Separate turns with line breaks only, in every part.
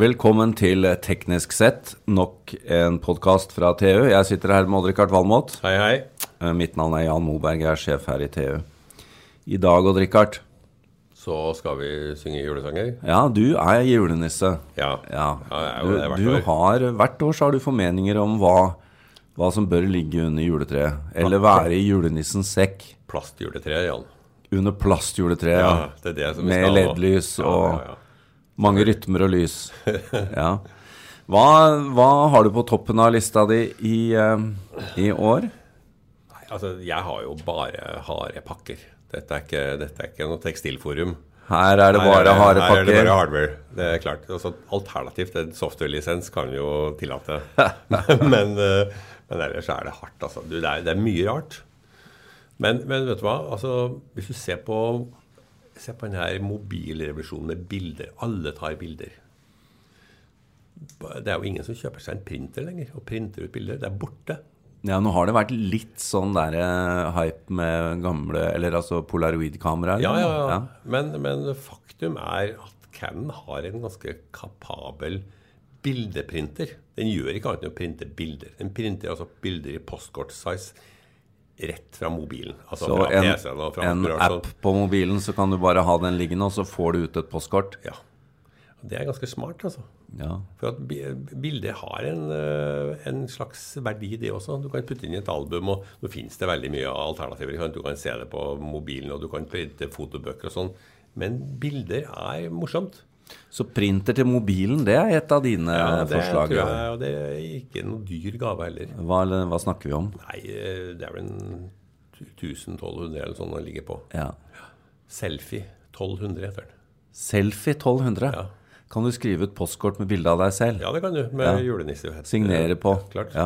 Velkommen til Teknisk sett, nok en podkast fra TU. Jeg sitter her med Odd-Rikard Valmot.
Hei, hei.
Eh, Mitt navn er Jan Moberg, jeg er sjef her i TU. I dag, Odd-Rikard,
Så skal vi synge julesanger.
ja, du er julenisse.
Ja.
Ja,
jeg er jo det
du,
hvert
du
år.
har Hvert år så har du formeninger om hva, hva som bør ligge under juletreet. Eller være i julenissens sekk.
Plastjuletre, Jan.
Under plastjuletreet.
Ja,
Ja.
det er det som vi
Med
skal nå.
LED-lys
Ja,
og
ja, ja.
Mange rytmer og lys. Ja. Hva, hva har du på toppen av lista di i, eh, i år?
Nei, altså, jeg har jo bare harepakker. Dette er ikke, dette er ikke noe tekstilforum.
Her er det
Her er
bare harde
Her er det bare
pakker.
hardware. Det er klart. Altså, alternativt, en software-lisens kan vi jo tillate. men, eh, men ellers er det hardt, altså. Du, det, er, det er mye rart. Men, men vet du hva? Altså, hvis du ser på, ser på den her mobilrevolusjonen med bilder Alle tar bilder. Det er jo ingen som kjøper seg en printer lenger og printer ut bilder. Det er borte.
Ja, nå har det vært litt sånn der eh, hype med gamle Eller altså polaroid-kameraer.
Ja, ja, ja. Men, men faktum er at Canon har en ganske kapabel bildeprinter. Den gjør ikke annet enn å printe bilder. Den printer altså bilder i postkort-size rett fra mobilen. Altså
Så
fra
en,
PC-en og fra
en
brorsen.
app på mobilen, så kan du bare ha den liggende, og så får du ut et postkort.
Ja. Det er ganske smart, altså.
Ja,
For at bi- bilder har en, eh, en slags verdi, det også. Du kan putte inn i et album, og nå finnes det veldig mye alternativer. ikke sant? Du kan se det på mobilen, og du kan printe fotobøker og sånn. Men bilder er morsomt.
Så printer til mobilen, det er et av dine
Ja, det
forslag.
tror jeg, og det er ikke noe dyr gave heller.
Hva, hva snakker vi om?
Nei, eh, det er vel en 1000-1200 eller sånn den ligger på.
Ja.
Selfie 1200 heter den.
Selfie 1200.
Ja.
Kan du skrive ut postkort med bilde av deg selv?
Ja, det kan du, med julenisse.
Signere på.
Ja, klart.
Ja.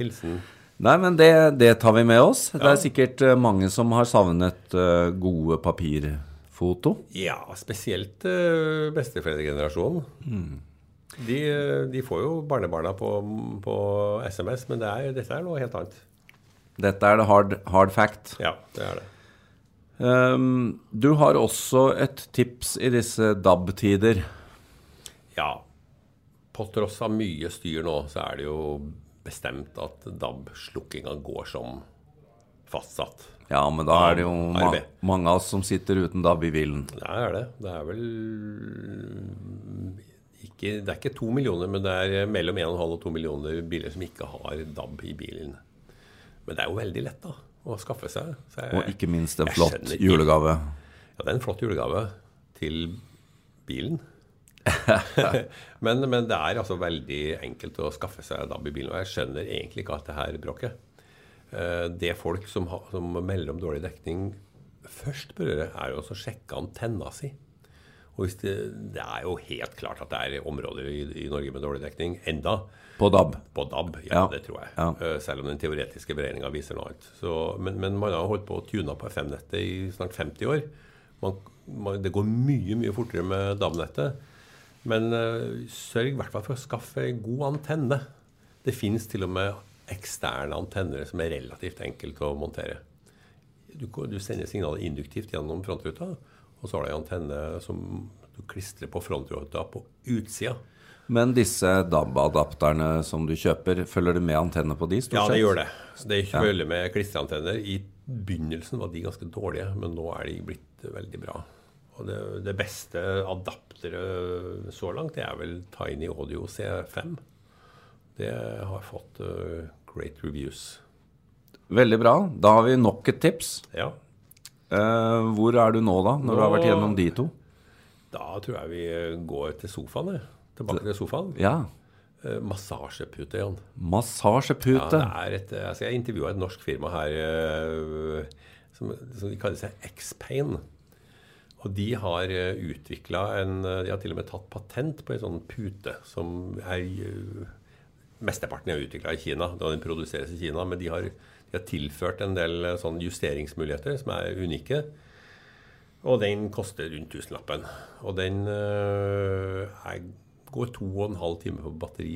Hilsen.
Nei, men det, det tar vi med oss. Det er sikkert eh, mange som har savnet eh, gode papirfoto.
Ja, spesielt eh, besteforeldregenerasjonen.
Hmm.
De, eh, de får jo barnebarna på, på SMS, men det er, dette er noe helt annet.
Dette er det hard, hard fact.
Ja, det er det.
Um, du har også et tips i disse DAB-tider.
Ja. På tross av mye styr nå, så er det jo bestemt at DAB-slukkinga går som fastsatt.
Ja, men da er det jo ma
RB.
mange av oss som sitter uten DAB i bilen.
Det er det. Det er vel ikke, Det er ikke to millioner, men det er mellom 1,5 og 2 millioner biler som ikke har DAB i bilen. Men det er jo veldig lett da, å skaffe seg. Så jeg,
Og ikke minst en
jeg
flott
skjønner ikke-
julegave.
Ja, det er en flott julegave til bilen. men, men det er altså veldig enkelt å skaffe seg DAB i bilen. Og jeg skjønner egentlig ikke at det her bråket. Eh, Det folk som, har- som melder om dårlig dekning først bør gjøre, er jo også å sjekke antenna si. Og hvis det, det er jo helt klart at det er områder i, i Norge med dårlig dekning enda.
På DAB.
På DAB, ja,
Ja,
det tror jeg.
ja.
Eh, Selv om den teoretiske beregninga viser noe annet. Så, men, men man har holdt på å tune på FM-nettet i snart 50 år. Man, man, det går mye, mye fortere med DAB-nettet. Men eh, sørg i hvert fall for å skaffe en god antenne. Det fins til og med eksterne antenner som er relativt enkelt å montere. Du, går- du sender signalet induktivt gjennom frontruta, og så har du ei antenne som du klistrer på frontruta på utsida.
Men disse DAB-adapterne som du kjøper, følger det med antenne på de, stort
Ja,
sett?
det gjør det. Så Det er ikke veldig med klistreantenner. I begynnelsen var de ganske dårlige, men nå er de blitt veldig bra. Og det, det beste adapteret så langt, det er vel Tiny Audio C5. Det har fått eh, great reviews.
Veldig bra. Da har vi nok et tips.
Ja,
Eh, hvor er du nå, da, når du har vært
Nå-
gjennom de to?
da tror jeg vi går til sofaen, jeg. Tilbake til sofaen.
Ja.
Eh, Massasjepute, Jan. Ja,
Massasjepute.
det er et, altså jeg intervjua et norsk firma her eh, som, som de kaller seg X-Pain. Og de har utvikla en eh, De har til og med tatt patent på en sånn pute som er eh, Mesteparten er utvikla i Kina. da Den produseres i Kina. Men de har, de har tilført en del eh, sånn justeringsmuligheter som er unike. Og den koster rundt tusenlappen. Og den eh, er, går to og en halv time på batteri.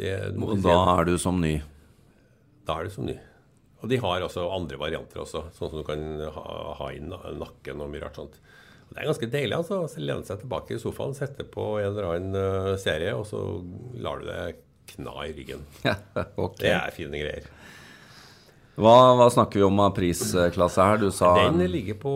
Det, du må
Og
ikke si
da
at-
er du som ny.
da er det som ny. Og de har altså andre varianter også, sånn som du kan ha, ha i na- nakken og mye rart sånt. Det er ganske deilig altså, å lene seg tilbake i sofaen, sette på en eller annen eh, serie, og så lar du det kna i ryggen.
ok.
Det er fine greier.
Hva, hva snakker vi om av prisklasse her? Du sa
Den ligger på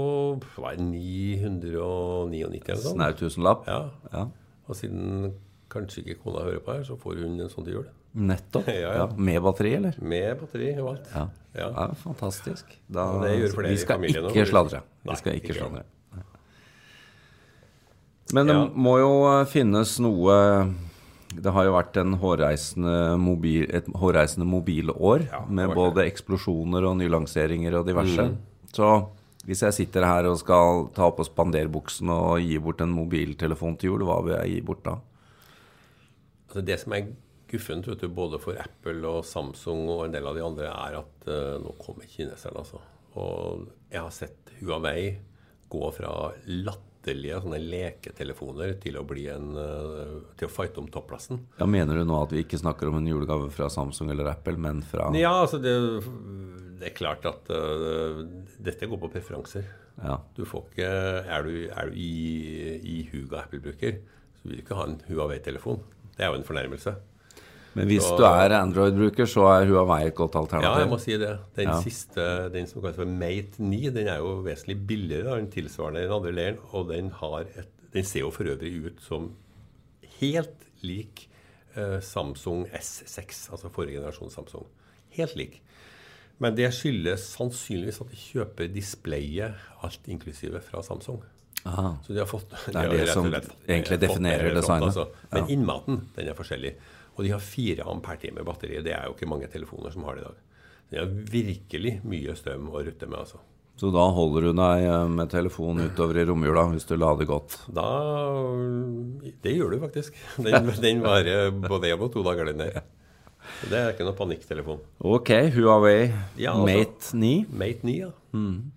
hva er det, 999 eller noe sånt.
snau tusenlapp.
Sånn. Ja.
Ja.
Og siden kanskje ikke kona hører på her, så får hun en sånn til jul.
Nettopp.
Ja, ja.
Med batteri, eller?
Med batteri og alt.
Ja.
Ja.
Ja, fantastisk. Da,
Og det gjør flere
vi
i
skal
familien
ikke
også.
sladre. Vi
Nei,
skal ikke
ikke.
sladre. Nei. Men det
Ja.
må jo eh, finnes noe Det har jo vært en hårreisende mobil, et hårreisende mobilår
Ja, Mm. det
med
har vært
både eksplosjoner og nylanseringer og diverse. Så hvis jeg sitter her og skal ta på spanderbuksen og gi bort en mobiltelefon til jul, hva vil jeg gi bort da?
Altså det som er guffent vet du, både for Apple og Samsung og en del av de andre, er at eh, nå kommer kineserne, altså. Og jeg har sett Huawei gå fra latterlige sånne leketelefoner til å bli en eh, til å fighte om topplassen.
Ja, Mener du nå at vi ikke snakker om en julegave fra Samsung eller Apple, men fra
Ja, altså det, det er klart at eh, dette går på preferanser.
Ja.
Du får ikke Er du, er du i, i huga Apple-bruker, så vil du ikke ha en Huawei-telefon. Det er jo en fornærmelse.
Men hvis
Så-
du er Android-bruker, så er Huawei et godt
Ja, jeg må
alternativ.
si det. Den
Ja.
siste, den som kalles for Mate 9, den er jo vesentlig billigere da, enn tilsvarende i den andre leiren. Og den, har et, den ser jo for øvrig ut som helt lik eh, Samsung S6, altså forrige generasjon Samsung. Helt lik. Men det skyldes sannsynligvis at de kjøper displayet, alt inklusive, fra Samsung.
Aha.
Så de har fått Det
er det som egentlig definerer designet.
altså. Men innmaten, den er forskjellig. Og de har 4 ampere time batteri. Det er jo ikke mange telefoner som har det i dag. De har virkelig mye strøm å rutte med, altså.
Så da holder du deg eh, med telefonen utover i romjula hvis du lader godt.
Da Det gjør du faktisk. Den, den varer både én og to dager, den der. Så det er ikke noe panikktelefon.
Ok, Huawei
Ja, altså-
Mate 9.
Mate 9, ja.
Mm.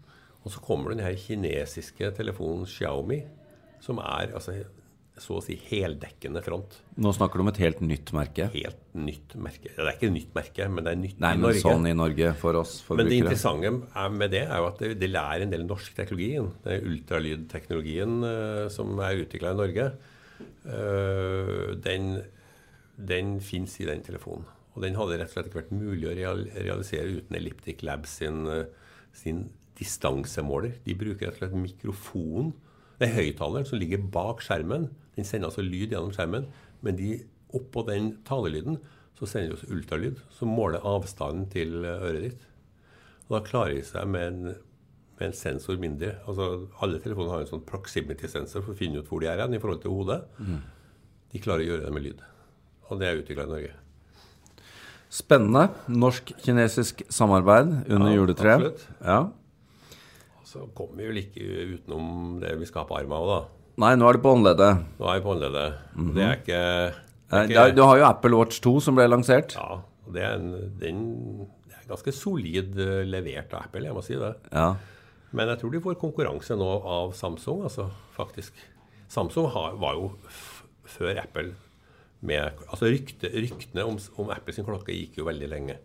Og så kommer den her kinesiske telefonen Xiaomi, som er altså, så å si heldekkende front.
Nå snakker du om et helt nytt merke.
helt nytt merke. Ja, Det er ikke et nytt merke, men det er nytt
Nei,
i
men
Norge.
sånn i Norge for oss
men det
forbrukere.
interessante er- med det er jo at det, det lærer en del norsk teknologi. igjen. Det er ultralydteknologien eh, som er utvikla i Norge. Eh, den den fins i den telefonen. Og den hadde rett og slett ikke vært mulig å real realisere uten Elliptic Lab sin, eh, sin distansemåler. De bruker rett og slett mikrofonen. Det er høyttaleren som ligger bak skjermen. Den sender altså lyd gjennom skjermen, men de oppå den talelyden så sender de også ultralyd, som måler avstanden til eh, øret ditt. Og da klarer de seg med en, med en sensor mindre. Altså, alle telefoner har en sånn proximity-sensor for å finne ut hvor de er hen i forhold til hodet. De klarer å gjøre det med lyd. Og det er utvikla i Norge.
Spennende. Norsk-kinesisk samarbeid under
Ja,
juletreet.
absolutt.
Ja.
Og så kommer vi vel ikke utenom det vi skal ha på armen òg, da.
Nei, nå er det på håndleddet.
Nå er vi på håndleddet. Det er ikke, det
Nei,
er
det er-
ikke
Du har jo Apple Watch 2 som ble lansert.
Ja. og Det er, en, den, det er ganske solid eh, levert av Apple, jeg må si det.
Ja.
Men jeg tror de får konkurranse nå av Samsung, altså, faktisk. Samsung har, var jo f før Apple med Altså rykte, ryktene om, om Apple sin klokke gikk jo veldig lenge.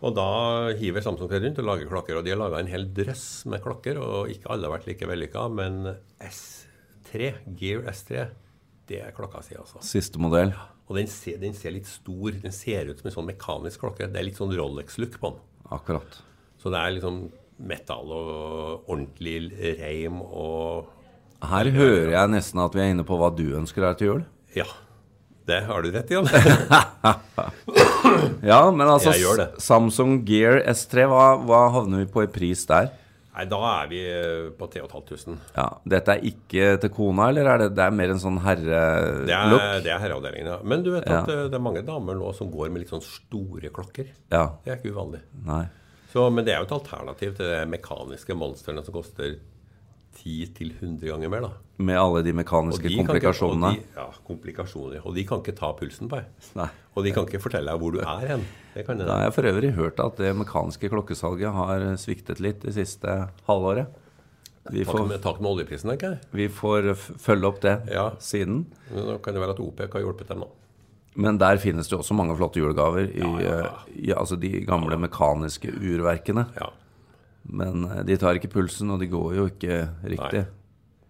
Og da hiver Samsung seg rundt og lager klokker. Og de har laga en hel drøss med klokker, og ikke alle har vært like vellykka. Men S3, Gear S3, det er klokka si, altså.
Siste modell.
Og den ser, den ser litt stor. Den ser ut som en sånn mekanisk klokke. Det er litt sånn Rolex-look på den.
Akkurat.
Så det er liksom metall og ordentlig reim og
Her hører jeg nesten at vi er inne på hva du ønsker deg til jul.
Ja. Det har du rett i, Jan.
Ja, men altså
Jeg gjør det.
Samsung Gear S3, hva, hva havner vi på i pris der?
Nei, da er vi eh, på 3500.
Ja, Dette er ikke til kona, eller er det, det er mer en sånn
Det er,
herrelook?
det er herreavdelingen, ja. Men du vet
Ja.
at eh, det er mange damer nå som går med litt sånn store klokker.
Ja.
Det er ikke uvanlig.
Nei.
Så, men det er jo et alternativ til de mekaniske monstrene som koster 10-100 ganger mer, da.
Med alle de
Og
mekaniske
de kan ikke- og
komplikasjonene.
de- ja, komplikasjoner. Og de kan ikke ta pulsen på deg.
Nei.
Og de kan ikke fortelle deg hvor du er hen. Det kan
Da
hende.
har jeg for øvrig hørt at det mekaniske klokkesalget har sviktet litt det siste halvåret. Vi
Takk
får,
med, takk med oljeprisen, tenker jeg.
vi får f- følge opp det
Ja.
siden.
Men Nå kan det være at OPEC har hjulpet dem nå.
Men der finnes det jo også mange flotte julegaver i,
ja, ja.
eh, i altså de gamle mekaniske urverkene.
Ja.
Men eh, de tar ikke pulsen, og de går jo ikke riktig.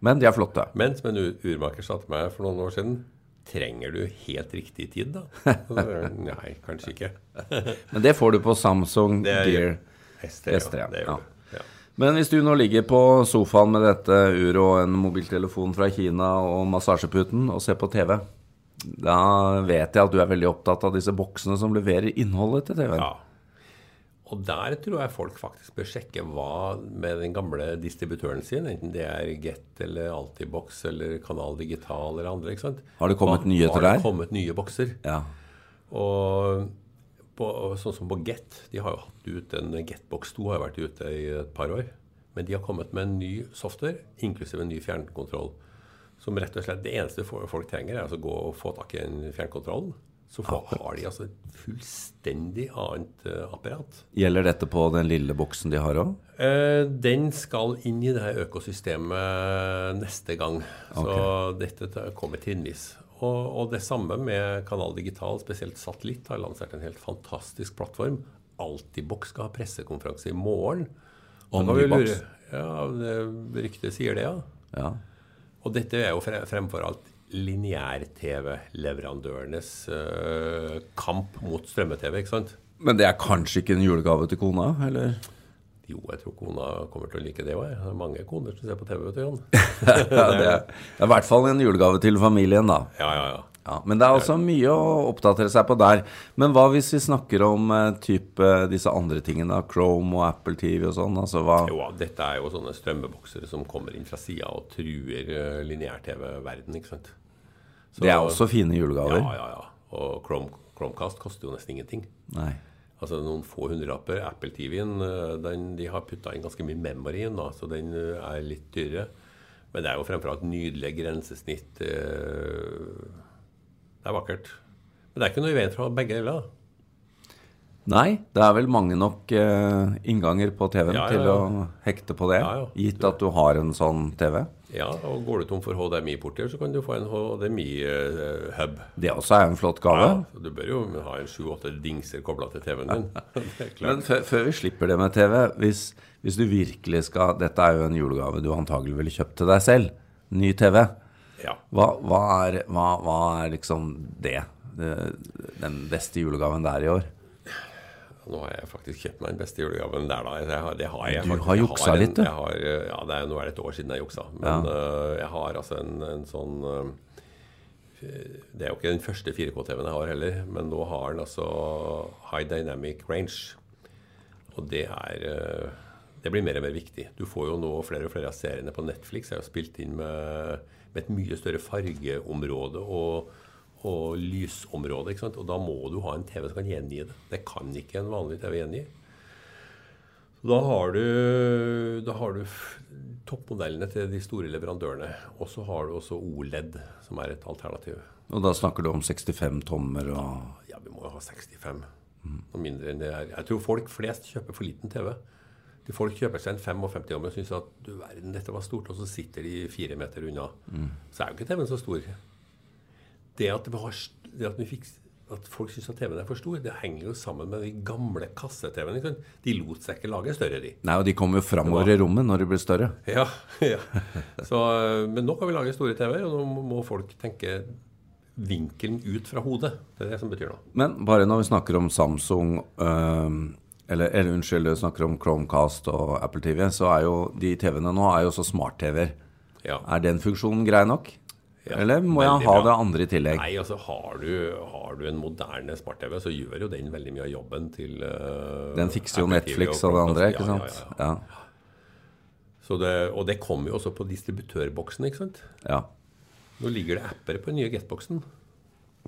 Men de er flotte.
Men som en u- urmaker sa til meg for noen år siden Trenger du helt riktig tid, da? Og så sier jeg, Nei, kanskje ikke.
Men det får du på Samsung
Det er-
Gear.
ST, ja.
ST, ja.
Det
Ja.
gjør du. Ja.
Men hvis du nå ligger på sofaen med dette uret og en mobiltelefon fra Kina og massasjeputen og ser på TV, da vet jeg at du er veldig opptatt av disse boksene som leverer innholdet til TV-en.
ja. Og der tror jeg folk faktisk bør sjekke hva med den gamle distributøren sin, enten det er Get eller Altibox eller Kanal Digital eller andre. ikke sant?
Har det kommet
Hva-
nyheter
Har
der?
det kommet nye bokser?
Ja.
Og på, sånn som på Get, de har jo hatt ut en Getbox 2 har jo vært ute i et par år. Men de har kommet med en ny software, inklusiv en ny fjernkontroll. Som rett og slett, Det eneste fo- folk trenger, er altså å gå og få tak i den fjernkontrollen. Så få, har de altså et fullstendig annet eh, apparat.
Gjelder dette på den lille boksen de har òg?
Eh, Den skal inn i det her økosystemet neste gang. Så dette ta- kommer trinnvis. Og, og det samme med Kanal Digital, spesielt Satellitt, har lansert en helt fantastisk plattform. Altibox skal ha pressekonferanse i morgen. Da
Om
kan vi
Nybox?
lure- Ja, det- ryktet sier det, ja.
Ja.
Og dette er jo fre- fremfor alt lineær-TV-leverandørenes eh, kamp mot strømme-TV, ikke sant?
Men det er kanskje ikke en julegave til kona, eller?
Jo, jeg tror kona kommer til å like det òg. Det er mange koner som ser på TV, vet du, Jan.
Ja, det er det er i hvert fall en julegave til familien, da.
Ja, ja, ja.
Ja, men det er også mye å oppdatere seg på der. Men hva hvis vi snakker om eh, type disse andre tingene, da, Chrome og Apple TV og sånn? Altså hva
Jo, dette er jo sånne strømmebokser som kommer inn fra sida og truer eh, lineær-TV-verden, ikke sant. Så-
Det er også fine
Ja,
julegaver.
ja, ja. Og Chrome, Chromecast koster jo nesten ingenting.
Nei.
Altså noen få hundrelapper. Apple TV-en eh, den, de har putta inn ganske mye memory i den, da, så den eh, er litt dyrere. Men det er jo fremfor alt nydelige grensesnitt. eh, Det er vakkert. Men det er ikke noe i veien for å ha begge deler. da.
Nei, det er vel mange nok eh, innganger på TV-en
Ja, ja,
til
ja.
å hekte på det,
Ja, ja.
gitt at du har en sånn TV.
Ja, og går du tom for HDMI-porter, så kan du få en HDMI-hub.
Det også er en flott gave.
Ja, så du bør jo ha en sju-åtte dingser kobla til TV-en din. Det er klart.
Men før, før vi slipper det med TV, hvis, hvis du virkelig skal Dette er jo en julegave du antagelig ville kjøpt til deg selv. Ny TV.
Ja.
Hva, hva, er, hva, hva er liksom det? Det- Den beste julegaven det er i år?
Nå har jeg faktisk kjøpt meg den beste julegaven der, da. Jeg har, det har jeg
Du
faktisk.
har
Jeg
juksa
en-
litt, du.
Jeg har, eh, ja, det er, nå er det et år siden jeg juksa. Men eh, jeg har altså en, en sånn eh, Det er jo ikke den første 4K-TV-en jeg har heller, men nå har den altså High Dynamic Range. Og det er eh, Det blir mer og mer viktig. Du får jo nå flere og flere av seriene på Netflix. Jeg har jo spilt inn med, med et mye større fargeområde og, og lysområde. ikke sant? Og da må du ha en TV som kan gjengi det. Det kan ikke en vanlig TV gjengi. Så Da har du, da har du f- toppmodellene til de store leverandørene. Og så har du også OLED, som er et alternativ.
Og da snakker du om 65 tommer og
Ja, vi må jo ha 65. Noe mindre enn det er. Jeg tror folk flest kjøper for liten TV. De folk kjøper seg en 55-tommer og syns at du verden, dette var stort, og så sitter de fire meter unna. Så er jo ikke TV-en så stor. Det at, vi har, st- det at, vi fikk, at folk syns at TV-en er for stor, det henger jo sammen med de gamle kasse-TV-ene. ikke sant? De lot seg ikke lage større, de.
Nei, og de kommer jo framover i rommet når de blir større.
Ja, ja. Så, øh, men nå kan vi lage store TV-er, og nå må folk tenke vinkelen ut fra hodet. Det er det som betyr noe.
Men bare når vi snakker om Samsung øhm, eller, eller unnskyld, vi snakker om Chromecast og Apple TV, så er jo de TV-ene nå er jo også smart-TV-er.
Ja.
Er den funksjonen grei nok?
Ja,
eller må jeg
veldig
ha
bra.
det andre i tillegg?
Nei, altså har du, har du en moderne smart-TV, så gjør jo den veldig mye av jobben til øh,
Den fikser jo
Apple TV
Netflix og det andre, ikke
Chromecast.
sant?
Ja, ja, ja.
Ja,
Så det, og det kommer jo også på distributørboksen, ikke sant?
ja.
Nå ligger det apper på den nye Get-boksen.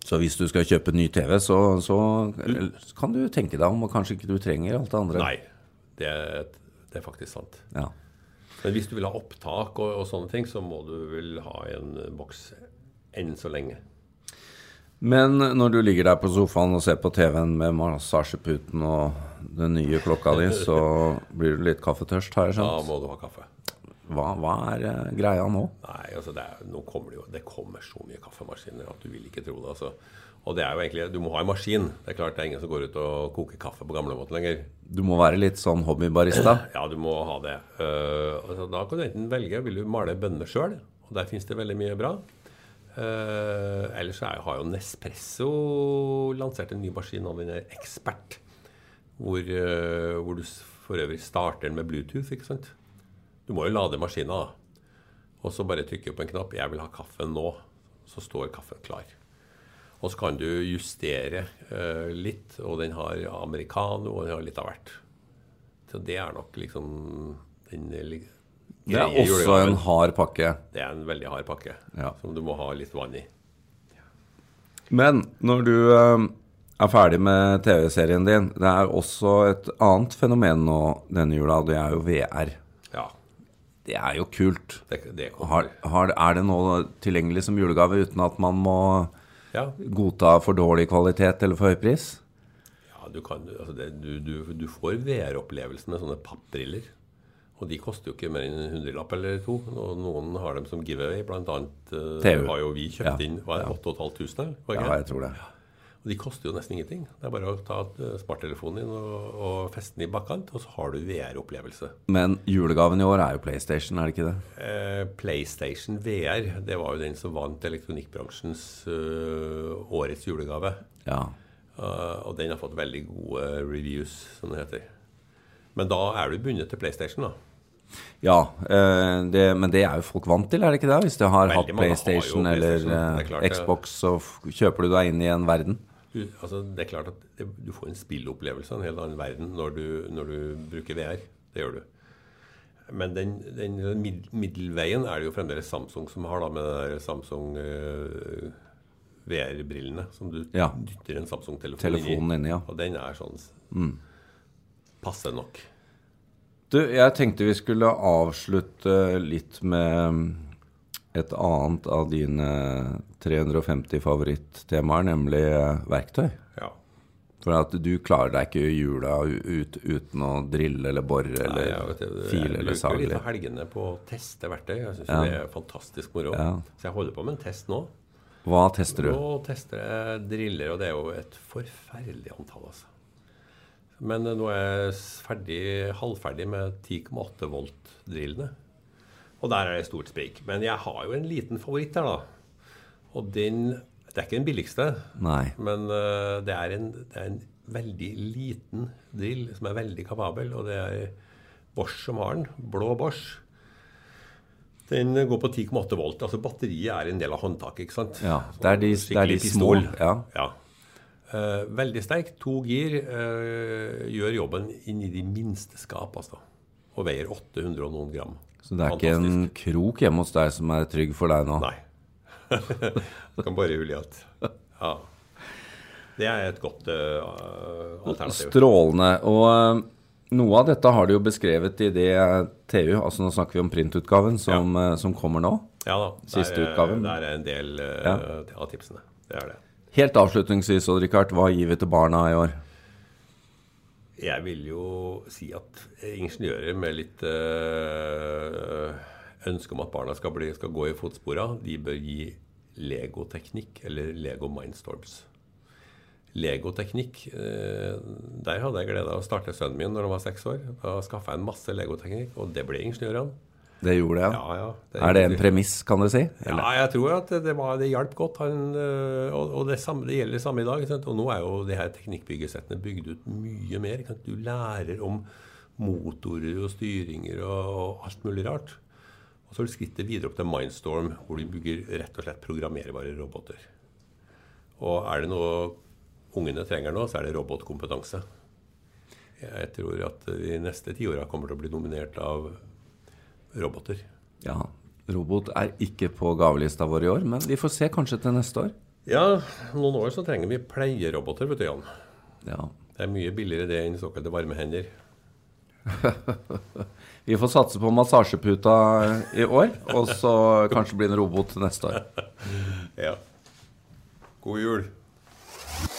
Så hvis du skal kjøpe ny TV, så, så eller, kan du tenke deg om, og kanskje ikke du trenger alt det andre.
Nei, det, det er faktisk sant.
Ja.
Men hvis du vil ha opptak og, og sånne ting, så må du vel ha en boks enn så lenge.
Men når du ligger der på sofaen og ser på TV-en med massasjeputen og den nye klokka di, så blir du litt kaffetørst, har jeg
Da
skjønt.
må du ha kaffe.
Hva, hva er eh, greia nå?
Nei, altså det er, nå kommer det jo Det kommer så mye kaffemaskiner at du vil ikke tro det. altså. Og det er jo egentlig, Du må ha en maskin. Det er klart det er ingen som går ut og koker kaffe på gamlemåten lenger.
Du må være litt sånn hobbybarista.
Ja, du må ha det. Eh, altså, da kan du enten velge vil du male bønner sjøl, og der fins det veldig mye bra. Uh, ellers så er, har jo Nespresso lansert en ny maskin av den der Expert, hvor, eh, hvor du s- for øvrig starter den med Bluetooth, ikke sant? Du må jo lade maskinen, da. Og så bare trykke på en knapp 'Jeg vil ha kaffe nå', så står kaffen klar. Og så kan du justere eh, litt, og den har americano, og den har litt av hvert. Så det er nok liksom den li-
Det er
greie
også
julegaven.
en hard pakke.
Det er en veldig hard pakke
Ja.
som du må ha litt vann i.
Men når du eh, er ferdig med TV-serien din, det er også et annet fenomen nå denne jula, og det er jo VR.
Ja,
Det er jo kult.
det, det
Har,
kommer.
har, er det nå tilgjengelig som julegave uten at man må
Ja.
godta for dårlig kvalitet eller for høy pris?
Ja, du, kan, altså det, du, du, du får VR-opplevelsen med sånne pappbriller. Og de koster jo ikke mer enn en hundrelapp eller to. Og noen har dem som giveaway. Blant annet eh,
TV.
har jo vi kjøpt
Ja.
inn hva er det, 8500.
Ja,
var det ikke det?
jeg tror det.
Og de koster jo nesten ingenting. Det er bare å ta eh, smarttelefonen din og, og feste den i bakkant, og så har du VR-opplevelse.
Men julegaven i år er jo PlayStation, er det ikke det?
Eh, PlayStation VR, det var jo den som vant elektronikkbransjens eh, årets julegave.
Ja.
Eh, og den har fått veldig gode reviews, som det heter. Men da er du bundet til PlayStation, da.
ja eh, det, men det er jo folk vant til, er det ikke det? Hvis de har
Veldig
hatt
mange har jo
PlayStation eller
PlayStation, det er
eh,
klart det.
Xbox, så f kjøper du deg inn i en verden.
Du, altså, det er klart at det, du får en spillopplevelse av en helt annen verden når du, når du bruker VR. Det gjør du. Men den, den mid, middelveien er det jo fremdeles Samsung som har, da, med den der Samsung eh, VR-brillene som du
Ja.
dytter en Samsung-telefon inn i.
Telefonen inni, ja. Mm.
Og den er sånn passe nok.
Du, jeg tenkte vi skulle avslutte litt med mm, et annet av dine 350 favorittemaer, nemlig eh, verktøy.
Ja.
For at du klarer deg ikke i jula u- ut, uten å drille eller bore
Nei,
eller
jeg vet det,
file eller
Jeg bruker
sage.
litt av helgene på å teste verktøy. Jeg syns det er fantastisk moro.
Ja.
Så jeg holder på med en test nå.
Hva tester du?
Nå tester jeg driller, og det er jo et forferdelig antall, altså. Men eh, nå er jeg s- ferdig, halvferdig med 10,8 volt-drillene. Og der er det stort sprik. Men jeg har jo en liten favoritt der, da. Og den Det er ikke den billigste,
Nei.
men eh, det er, en, det er en veldig liten drill som er veldig kapabel, og det er Bosch som har den. Blå Bosch. Den går på 10,8 volt. Altså batteriet er en del av håndtaket, ikke sant?
Ja, det er de, det er de
Skikkelig
små.
pistol.
Ja.
Ja. Eh, veldig sterk. To gir eh, gjør jobben inn i de minste skap, altså. Og veier 800 og noen gram.
Så det er ikke en krok hjemme hos deg som er trygg for deg nå?
Nei. du kan bare rulle i alt. Ja. Det er et godt eh, alternativ.
Strålende. Og eh, noe av dette har du jo beskrevet i det TU, altså nå snakker vi om printutgaven som, eh, som kommer nå.
Ja da.
Siste
der, er-
utgaven.
Der er en del eh, av tipsene. Det er det.
Helt avslutningsvis, Odd-Rikard, hva gir vi til barna i år?
Jeg vil jo si at ingeniører med litt øh, ønske om at barna skal, bli, skal gå i fotspora, de bør gi legoteknikk eller Lego Mindstorms. Legoteknikk øh, Der hadde jeg glede av å starte sønnen min når han var seks år. Da skaffa jeg en masse legoteknikk, og det ble ingeniørene.
Det gjorde jeg.
Ja, ja,
Er det en premiss, kan du si? Eller?
ja, jeg tror at det, det, var, det hjalp godt. Han, øh, og og det, samme, det gjelder det samme i dag. ikke Sant? Og nå er jo det her teknikkbyggesettene bygd ut mye mer. ikke Sant? Du lærer om motorer og styringer og, og alt mulig rart. Og så er det skrittet videre opp til Mindstorm, hvor du bygger rett og slett programmerbare roboter. Og er det noe ungene trenger nå, så er det robotkompetanse. Jeg tror at de neste tiåra kommer til å bli dominert av roboter.
Ja. Robot er ikke på gavelista vår i år, men vi får se kanskje til neste år.
Ja, noen år så trenger vi pleieroboter, vet du, Jan.
Ja.
Det er mye billigere det enn såkalte varmehender.
Vi får satse på massasjeputa i år, og så kanskje bli en robot til neste år.
Ja. God jul.